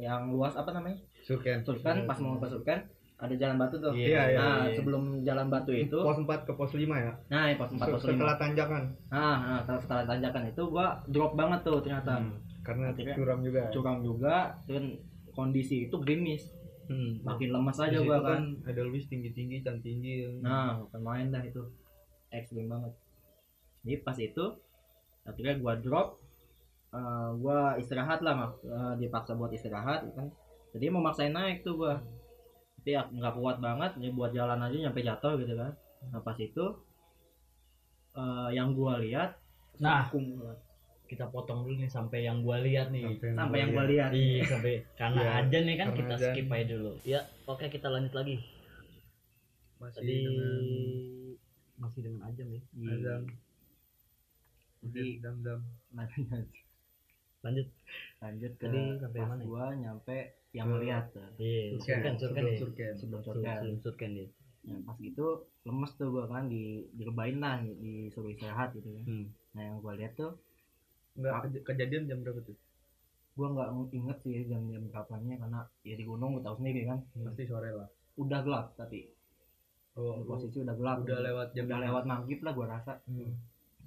Speaker 3: yang luas apa namanya?
Speaker 2: surken
Speaker 3: Surkan pas mau ke Surkan ada jalan batu tuh.
Speaker 2: Iya, iya,
Speaker 3: nah,
Speaker 1: iya.
Speaker 3: sebelum jalan batu itu,
Speaker 2: pos 4 ke pos 5 ya
Speaker 3: nah yang pos 4 pos 5.
Speaker 2: setelah tanjakan
Speaker 3: Nah, nah, setelah, setelah tanjakan itu gua drop banget tuh ternyata.
Speaker 2: Hmm. karena
Speaker 3: Akhirnya
Speaker 2: curam juga ya.
Speaker 3: Curang juga dan kondisi itu gerimis.
Speaker 2: hmm.
Speaker 3: Makin lemas
Speaker 2: Di
Speaker 3: aja
Speaker 2: situ
Speaker 3: gua kan.
Speaker 2: kan ada Luis tinggi tinggi can tinggi
Speaker 3: Nah, bukan main dah itu. Ekstrim banget. Jadi pas itu akhirnya gua drop eh, gua istirahat lah mak eh, dipaksa buat istirahat kan. Jadi mau maksain naik tuh gua. Tapi ya nggak kuat banget nih buat jalan aja nyampe jatuh gitu kan. Nah, pas itu eh, yang gua lihat
Speaker 1: Nah.
Speaker 3: kumpulan.
Speaker 1: kita potong dulu nih sampai yang gua lihat nih
Speaker 3: sampai yang gua lihat.
Speaker 1: Iya sampai karena
Speaker 2: Iya,
Speaker 1: aja nih kan
Speaker 2: karena
Speaker 1: kita
Speaker 2: ajan.
Speaker 1: skip aja dulu. Ya, oke kita lanjut lagi.
Speaker 2: masih
Speaker 1: Tadi
Speaker 2: dengan
Speaker 1: masih dengan ajam ya.
Speaker 2: azam
Speaker 3: Jadi
Speaker 2: Iya. dam dam
Speaker 1: Lanjut.
Speaker 3: lanjut ke
Speaker 1: Tadi sampai
Speaker 3: pas
Speaker 1: mana ya?
Speaker 3: gua nyampe yang
Speaker 2: Ke-
Speaker 3: melihat
Speaker 1: Iya, surken, surken
Speaker 2: Sebelum
Speaker 1: ya.
Speaker 2: surken
Speaker 3: sebelum surga.
Speaker 1: Sebelum surken dia.
Speaker 3: Nah, pas gitu lemes tuh gua kan di direbahin lah di- disuruh istirahat gitu kan.
Speaker 1: Hmm.
Speaker 3: Nah yang gua lihat tuh
Speaker 2: Nggak, kej- kejadian jam berapa tuh
Speaker 3: gua nggak inget sih jam-jam berapanya karena ya di gunung gua tahu sendiri kan
Speaker 1: Hmm.
Speaker 2: pasti sore lah
Speaker 3: udah gelap tapi
Speaker 2: oh lu
Speaker 3: posisi udah gelap
Speaker 2: udah lewat jam
Speaker 3: udah lewat maghrib lah gua rasa
Speaker 2: Hmm.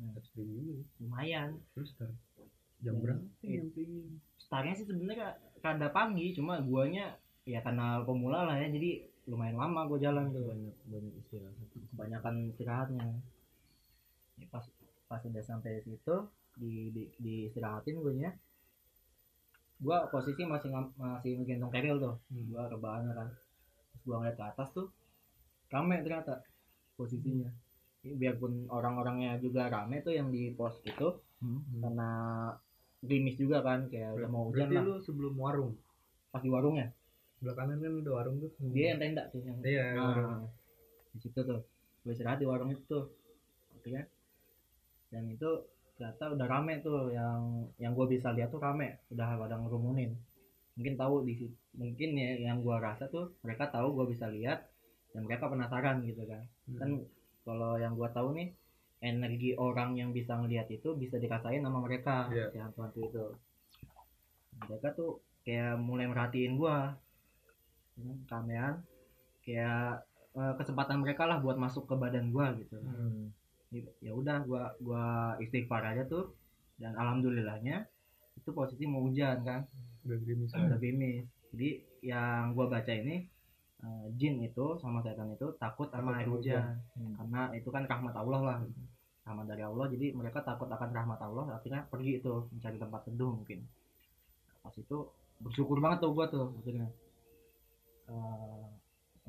Speaker 3: Hmm.
Speaker 2: Ekstrim juga ya.
Speaker 3: lumayan
Speaker 2: terus tar jam
Speaker 3: Hmm.
Speaker 2: berapa
Speaker 3: Iya.
Speaker 2: jam tinggi
Speaker 3: startnya sih sebenarnya ka- kada pagi cuma guanya ya karena pemula lah ya jadi lumayan lama gua jalan tuh
Speaker 1: Banyak banyak istirahat.
Speaker 3: kebanyakan istirahatnya Ya, pas pas udah sampai situ di di, di istirahatin gue nya gue posisi masih ngam- masih menggendong keril tuh
Speaker 2: Hmm.
Speaker 3: gue rebahan kan terus gue ngeliat ke atas tuh rame ternyata posisinya Jadi biarpun orang-orangnya juga rame tuh yang di pos itu karena gerimis juga kan kayak udah mau hujan
Speaker 2: berarti
Speaker 3: lah
Speaker 2: lu sebelum warung
Speaker 3: pas di warungnya
Speaker 2: belakangan kan udah warung tuh
Speaker 3: dia yang tenda sih yang
Speaker 2: iya warung.
Speaker 3: Nah, di situ tuh gue istirahat di warung itu tuh akhirnya dan itu ternyata udah rame tuh yang yang gue bisa lihat tuh rame udah pada ngerumunin mungkin tahu di situ- mungkin ya yang gue rasa tuh mereka tahu gue bisa lihat dan mereka penasaran gitu kan kan kalau yang gue tahu nih energi orang yang bisa ngelihat itu bisa dirasain sama mereka
Speaker 2: Iya.
Speaker 3: si hantu-hantu itu mereka tuh kayak mulai merhatiin gue kamean kayak eh, kesempatan mereka lah buat masuk ke badan gue gitu
Speaker 2: Hmm.
Speaker 3: Jadi, ya udah gua gua istighfar aja tuh dan alhamdulillahnya itu posisi mau hujan kan
Speaker 2: udah gerimis
Speaker 3: udah gerimis jadi yang gua baca ini eh, jin itu sama setan itu takut
Speaker 2: Takut
Speaker 3: sama air
Speaker 2: sama
Speaker 3: hujan
Speaker 1: Hmm.
Speaker 3: karena itu kan rahmat Allah lah rahmat dari Allah jadi mereka takut akan rahmat Allah akhirnya pergi itu mencari tempat teduh mungkin pas itu bersyukur banget tuh gua tuh akhirnya Eh,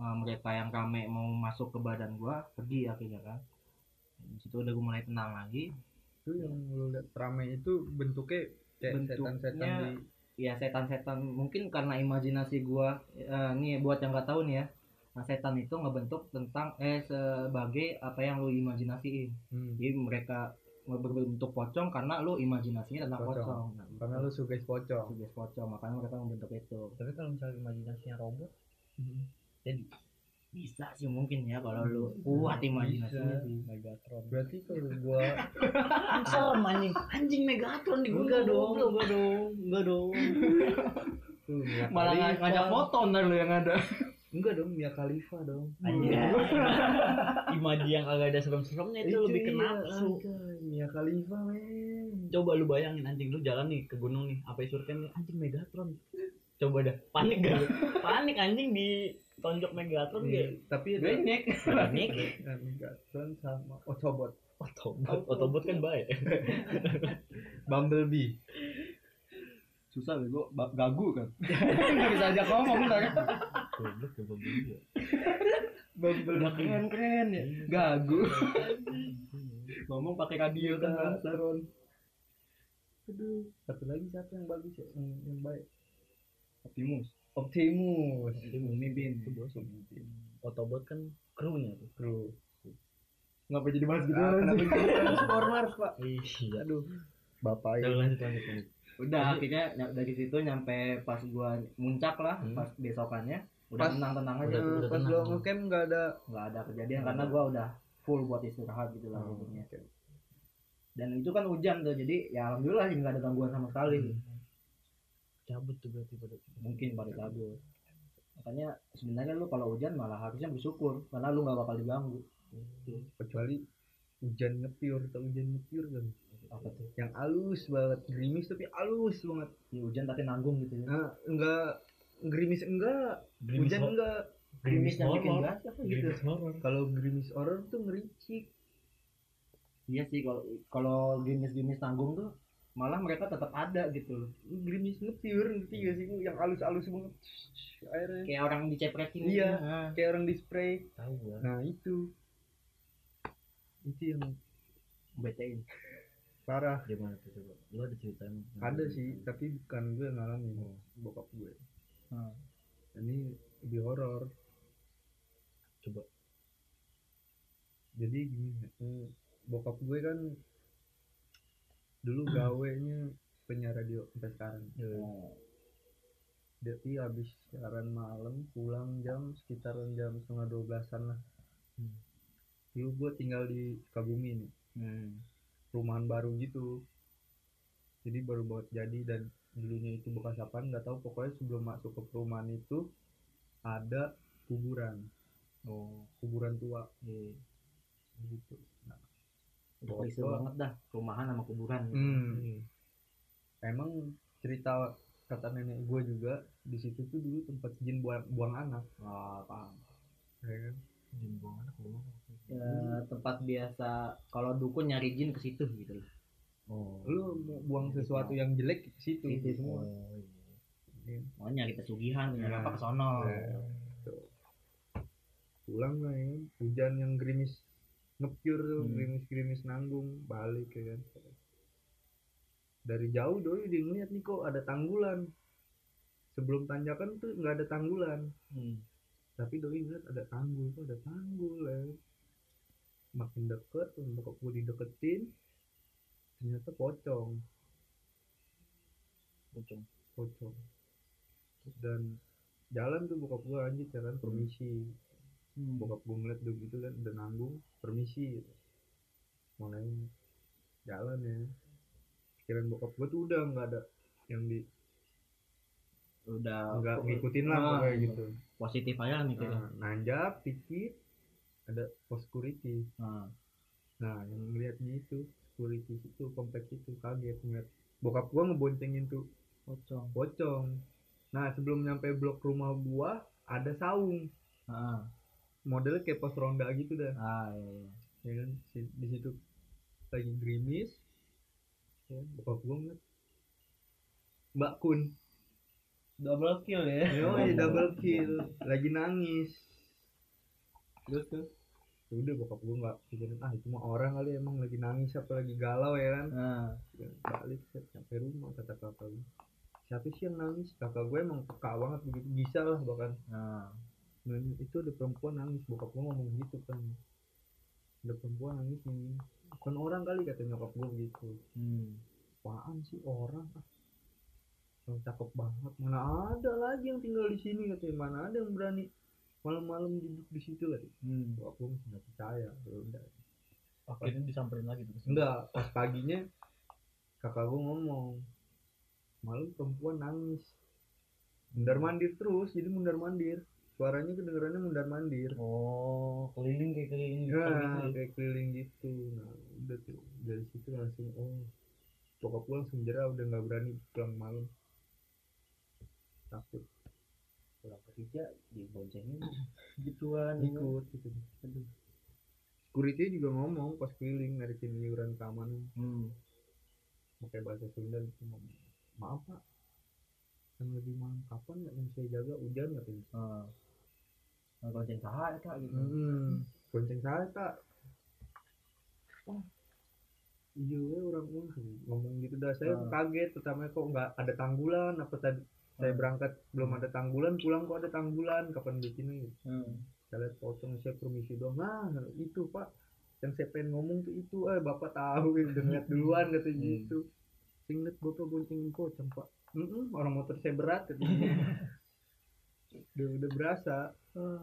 Speaker 3: eh, mereka yang rame mau masuk ke badan gua pergi akhirnya kan di situ udah gua mulai tenang lagi
Speaker 2: itu yang lu lihat ramai itu bentuknya kayak
Speaker 3: Bentuknya-
Speaker 2: setan-setan di
Speaker 3: ya setan-setan mungkin karena imajinasi gua eh, nih buat yang nggak tahu nih ya nah, setan itu ngebentuk tentang eh sebagai apa yang lu imajinasiin
Speaker 2: Hmm,
Speaker 3: jadi mereka berbentuk pocong karena lu imajinasinya tentang
Speaker 2: Pocong.
Speaker 3: pocong,
Speaker 2: karena lu suges pocong
Speaker 3: Suggest pocong makanya mereka membentuk itu
Speaker 1: Tapi kalau misalnya imajinasinya robot,
Speaker 3: jadi bisa sih mungkin ya kalau lu kuat imajinasinya
Speaker 2: Bisa.
Speaker 3: Iya, sih
Speaker 1: Megatron.
Speaker 2: berarti kalau gua
Speaker 4: Kan
Speaker 1: Serem anjing. Anjing Megatron di Enggak dong, enggak dong, enggak dong.
Speaker 2: tuh Mia
Speaker 3: malah
Speaker 2: Khalifa.
Speaker 3: ng- ngajak foto ntar lu yang ada
Speaker 2: enggak dong Mia Khalifa dong
Speaker 1: Anjir. Imaji yang kagak ada serem-seremnya itu, lebih ke
Speaker 2: iya,
Speaker 1: nafsu.
Speaker 2: anjay, Mia Khalifa men
Speaker 1: Coba lu bayangin anjing lu jalan nih ke gunung nih, apa surken nih anjing Megatron. Coba dah, panik gak? lu? panik anjing di tonjok Megatron
Speaker 2: Iya,
Speaker 1: dia.
Speaker 2: tapi ada
Speaker 3: banyak
Speaker 1: Panik.
Speaker 2: Megatron sama oh, Autobot
Speaker 1: Otobot, otobot kan baik.
Speaker 2: Bumblebee
Speaker 3: susah bego Ba- gagu kan nggak bisa ajak ngomong ntar
Speaker 1: Goblok ya begini.
Speaker 3: udah keren keren ya gagu ngomong pakai radio kan bangsa.
Speaker 2: Megatron aduh satu lagi siapa yang bagus ya yang, yang baik
Speaker 3: optimus
Speaker 2: Optimus
Speaker 1: Mimpin itu bos. Otobot kan krunya tuh.
Speaker 2: Bro
Speaker 3: ngapa jadi bahas gitu
Speaker 2: Ah, kenapa jadi Transformers pak
Speaker 1: Iya.
Speaker 2: aduh
Speaker 1: Udah
Speaker 2: bapak ya
Speaker 1: lanjut lanjut. lanjut.
Speaker 3: udah akhirnya ny- dari situ nyampe pas gua muncak lah
Speaker 1: Hmm.
Speaker 3: pas besokannya udah
Speaker 2: Pas-
Speaker 3: tenang tenang aja
Speaker 1: udah- udah
Speaker 2: pas
Speaker 1: tenang.
Speaker 2: lo ngecamp nggak ada
Speaker 3: nggak ada kejadian karena gua udah full buat istirahat gitu lah pokoknya. dan itu kan hujan tuh jadi ya alhamdulillah sih nggak ada gangguan sama sekali
Speaker 1: Cabut tuh berarti pada.
Speaker 3: mungkin pada kabur makanya sebenarnya lu kalau hujan malah harusnya bersyukur karena lu nggak bakal diganggu
Speaker 2: kecuali hujan ngepure atau hujan ngepure kan
Speaker 3: apa tuh
Speaker 2: yang halus banget gerimis tapi halus banget
Speaker 3: ya, hujan tapi nanggung gitu ya
Speaker 2: nah, enggak gerimis enggak
Speaker 1: Gerimis
Speaker 2: hujan
Speaker 1: ho-
Speaker 2: enggak
Speaker 3: gerimis yang kan bikin
Speaker 1: horor.
Speaker 3: gas apa gitu
Speaker 1: Gerimis horor.
Speaker 2: kalau gerimis horror tuh ngericik
Speaker 3: iya sih kalau kalau gerimis gerimis nanggung tuh malah mereka tetap ada gitu loh
Speaker 2: gerimis ngepure ngerti gak sih yang halus-halus banget airnya
Speaker 3: kayak orang dicepretin
Speaker 2: Iya.
Speaker 3: gitu. Ah.
Speaker 2: kayak orang di spray
Speaker 1: Tahu gua.
Speaker 2: nah itu itu yang
Speaker 3: betein
Speaker 2: parah
Speaker 1: Gimana tuh coba? Lu ada cerita emang?
Speaker 2: ada sih tapi bukan gue yang ngalamin bokap gue
Speaker 3: Hmm.
Speaker 2: ini lebih horor
Speaker 1: Coba.
Speaker 2: jadi gini eh, bokap gue kan dulu gawenya penyiar radio sampai sekarang jadi habis siaran malam pulang jam sekitaran jam setengah dua belasan lah
Speaker 1: Hmm.
Speaker 2: dulu gue tinggal di Sukabumi nih
Speaker 3: Hmm.
Speaker 2: rumahan baru gitu jadi baru buat jadi dan dulunya itu bekas apa nggak tahu pokoknya sebelum masuk ke perumahan itu ada kuburan
Speaker 3: oh
Speaker 2: kuburan tua
Speaker 1: Iya.
Speaker 2: gitu nah,
Speaker 3: udah klise banget dah rumahan sama kuburan gitu.
Speaker 2: hmm,
Speaker 1: Iya.
Speaker 2: emang cerita kata nenek gue juga di situ tuh dulu tempat jin buang, buang anak
Speaker 3: Wah, paham.
Speaker 2: ya kan?
Speaker 1: Dibuang anak lu.
Speaker 3: Ya, tempat biasa kalau dukun nyari jin ke situ gitu loh.
Speaker 1: Oh.
Speaker 2: lu mau buang sesuatu yang jelek ke situ
Speaker 3: Situ semua.
Speaker 1: Oh, iya.
Speaker 2: Ya,
Speaker 3: Mau nyari pesugihan, nyari
Speaker 2: Nah.
Speaker 3: apa ke
Speaker 1: Oh.
Speaker 3: sono.
Speaker 2: Nah. tuh. pulang lah ya kan. hujan yang gerimis ngepure tuh
Speaker 3: Hmm.
Speaker 2: gerimis gerimis nanggung balik ya kan dari jauh doi dia ngeliat nih kok ada tanggulan sebelum tanjakan tuh nggak ada tanggulan
Speaker 1: Hmm.
Speaker 2: tapi doi ngeliat ada tanggul kok ada tanggul ya kan. makin deket bokap gue dideketin ternyata pocong
Speaker 1: Pocong.
Speaker 2: pocong dan jalan tuh bokap gue lanjut jalan kan? permisi
Speaker 3: Hmm.
Speaker 2: bokap gue ngeliat udah gitu kan udah nanggung permisi gitu. mau nanya jalan ya pikiran bokap gue tuh udah nggak ada yang di
Speaker 3: Udah
Speaker 2: nggak ngikutin lah
Speaker 3: Ah,
Speaker 2: pokoknya
Speaker 3: iya.
Speaker 2: gitu
Speaker 3: positif aja lah mikirnya.
Speaker 2: nah, nanjak dikit ada pos security
Speaker 3: Nah.
Speaker 2: nah yang ngeliat gitu security itu kompleks itu kaget ngeliat bokap gue ngeboncengin tuh
Speaker 3: Pocong.
Speaker 2: pocong nah sebelum nyampe blok rumah gua ada saung
Speaker 3: Ah,
Speaker 2: modelnya kayak pos ronda gitu dah
Speaker 3: ah iya, iya.
Speaker 2: ya kan Si- di situ lagi gerimis ya kan? bokap gua ngeliat mbak kun
Speaker 3: Double kill ya.
Speaker 2: Yoi, double kill lagi nangis
Speaker 3: Terus tuh.
Speaker 2: Ya udah bokap gua nggak pikirin ah itu mah orang kali emang lagi nangis apa lagi galau ya kan
Speaker 3: Nah,
Speaker 2: Ya, balik set sampai rumah kata kakak gua. siapa sih yang nangis kakak gue emang peka banget begitu bisa lah bahkan
Speaker 3: nah.
Speaker 2: Dan itu ada perempuan nangis bokap gue ngomong gitu kan ada perempuan nangis ini bukan orang kali kata nyokap gue gitu
Speaker 3: Hmm.
Speaker 2: apaan sih orang ah yang cakep banget mana ada lagi yang tinggal di sini katanya mana ada yang berani malam-malam duduk di situ lagi
Speaker 3: Hmm.
Speaker 2: bokap gue masih nggak percaya ya udah
Speaker 1: Akhirnya disamperin lagi tuh.
Speaker 2: enggak pas paginya kakak gue ngomong malam perempuan nangis mundar mandir terus jadi mundar mandir suaranya kedengerannya mundar mandir
Speaker 1: oh keliling kayak keliling
Speaker 2: ya
Speaker 1: gitu ya.
Speaker 2: kayak keliling gitu nah udah tuh dari situ langsung oh bokap gue langsung jerah udah nggak berani pulang malam takut
Speaker 1: pulang kerja diboncengin gituan gitu
Speaker 2: ikut gitu aduh security juga ngomong pas keliling narikin iuran keamanan
Speaker 3: hmm.
Speaker 2: pakai bahasa Sunda gitu ngomong maaf pak yang lebih malam kapan nggak yang saya jaga hujan nggak ini
Speaker 3: Uh, Gonceng saha eta gitu.
Speaker 2: hmm. bonceng saya tak iya we, orang orang ngomong gitu dah saya
Speaker 3: Ah.
Speaker 2: kaget pertama kok nggak ada tanggulan apa tadi saya
Speaker 3: Ah.
Speaker 2: berangkat belum ada tanggulan pulang kok ada tanggulan kapan bikinnya gitu.
Speaker 3: Hmm.
Speaker 2: saya lihat pocong saya permisi doang nah itu pak yang saya pengen ngomong tuh itu eh bapak tahu ya, udah ngeliat duluan katanya
Speaker 3: Hmm.
Speaker 2: gitu Saya ngeliat bapak boncengin pocong pak "Mm-mm, orang motor saya berat katanya udah udah berasa Ah.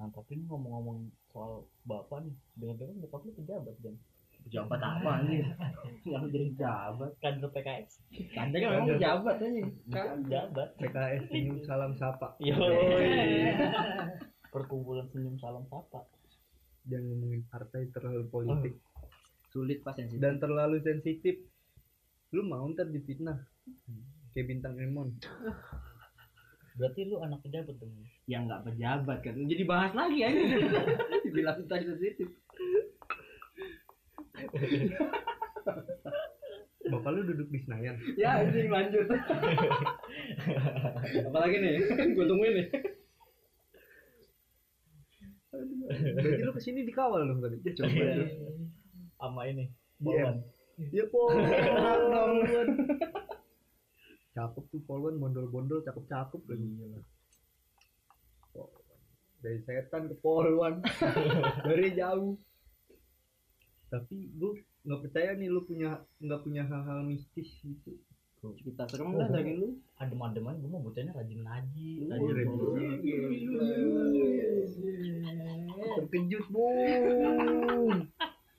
Speaker 1: nah tapi ini ngomong-ngomong soal bapak nih dengan-dengan bapak lu pejabat dan
Speaker 3: Pejabat apa anjing? Yang jadi Iya, pejabat.
Speaker 1: kader PKS
Speaker 3: Tandanya memang pejabat anjing.
Speaker 1: pejabat
Speaker 2: PKS senyum salam sapa
Speaker 1: Yoi. perkumpulan senyum salam sapa
Speaker 2: jangan ngomongin partai terlalu politik
Speaker 3: Sulit pas sensitif.
Speaker 2: dan terlalu sensitif lu mau ntar difitnah kayak bintang Emon
Speaker 1: berarti lu anak pejabat dong
Speaker 3: yang nggak pejabat kan jadi bahas lagi aja bilang tentang sensitif
Speaker 2: bapak lu duduk di Senayan
Speaker 3: ya anjing lanjut apalagi nih gue tungguin nih
Speaker 2: berarti lu kesini dikawal dong tadi
Speaker 3: coba
Speaker 1: sama ini
Speaker 2: DM.
Speaker 1: Polwan.
Speaker 2: Ya Polwan. cakep tuh Polwan bondol-bondol cakep-cakep lagi. Polwan. Dari setan ke Polwan. Dari jauh. Tapi gue nggak percaya nih lu punya nggak punya hal-hal mistis gitu.
Speaker 3: kita serem lah lagi lu
Speaker 1: adem-ademan gue mau bocahnya rajin ngaji
Speaker 2: Tadi
Speaker 1: rajin
Speaker 2: ribut. Terkejut bu.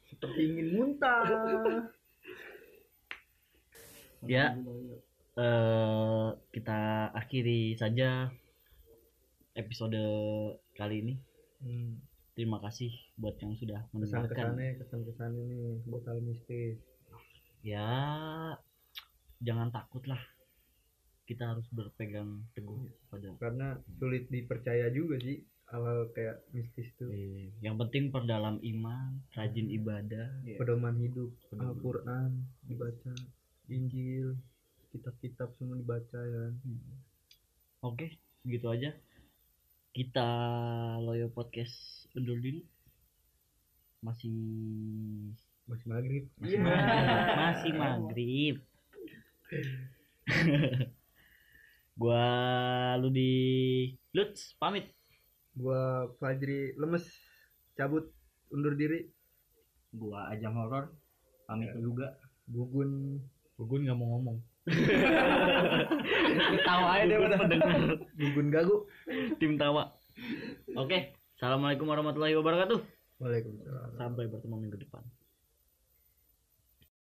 Speaker 2: Seperti ingin muntah.
Speaker 1: Ya. eh kita akhiri saja episode kali ini.
Speaker 2: Hmm,
Speaker 1: Terima kasih buat yang sudah
Speaker 2: kesan
Speaker 1: mendengarkan.
Speaker 2: kesannya kesan kesannya nih buat hal mistis.
Speaker 1: Ya, jangan takut lah. Kita harus berpegang teguh pada.
Speaker 2: karena sulit dipercaya juga sih hal kayak mistis tuh
Speaker 1: eh, yang penting perdalam iman, rajin ibadah.
Speaker 2: Iya. pedoman hidup
Speaker 1: Pedoman.
Speaker 2: Al-Quran dibaca Injil kitab-kitab semua dibaca ya
Speaker 1: Oke, segitu aja. Kita Loyo Podcast undur diri. Masih
Speaker 2: masih maghrib
Speaker 1: masih
Speaker 2: Iya.
Speaker 1: maghrib. Masih maghrib. gua Ludi Lutz pamit.
Speaker 2: gua Fajri lemes cabut undur diri
Speaker 3: gua ajang horor pamit juga
Speaker 2: gugun
Speaker 1: Gugun nggak mau ngomong.
Speaker 3: tahu aja deh udah
Speaker 2: gugun gagu
Speaker 1: Tim tawa. Oke, assalamualaikum warahmatullahi wabarakatuh.
Speaker 2: waalaikumsalam
Speaker 1: Sampai bertemu minggu depan.